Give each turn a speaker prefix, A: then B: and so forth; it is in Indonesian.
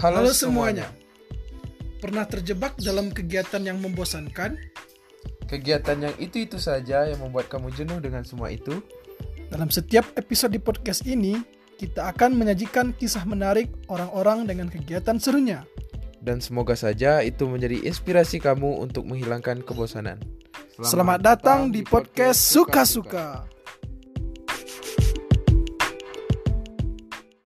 A: Halo, semuanya. Pernah terjebak dalam kegiatan yang membosankan?
B: Kegiatan yang itu-itu saja yang membuat kamu jenuh dengan semua itu.
A: Dalam setiap episode di podcast ini, kita akan menyajikan kisah menarik orang-orang dengan kegiatan serunya.
B: Dan semoga saja itu menjadi inspirasi kamu untuk menghilangkan kebosanan.
A: Selamat, datang di podcast suka-suka.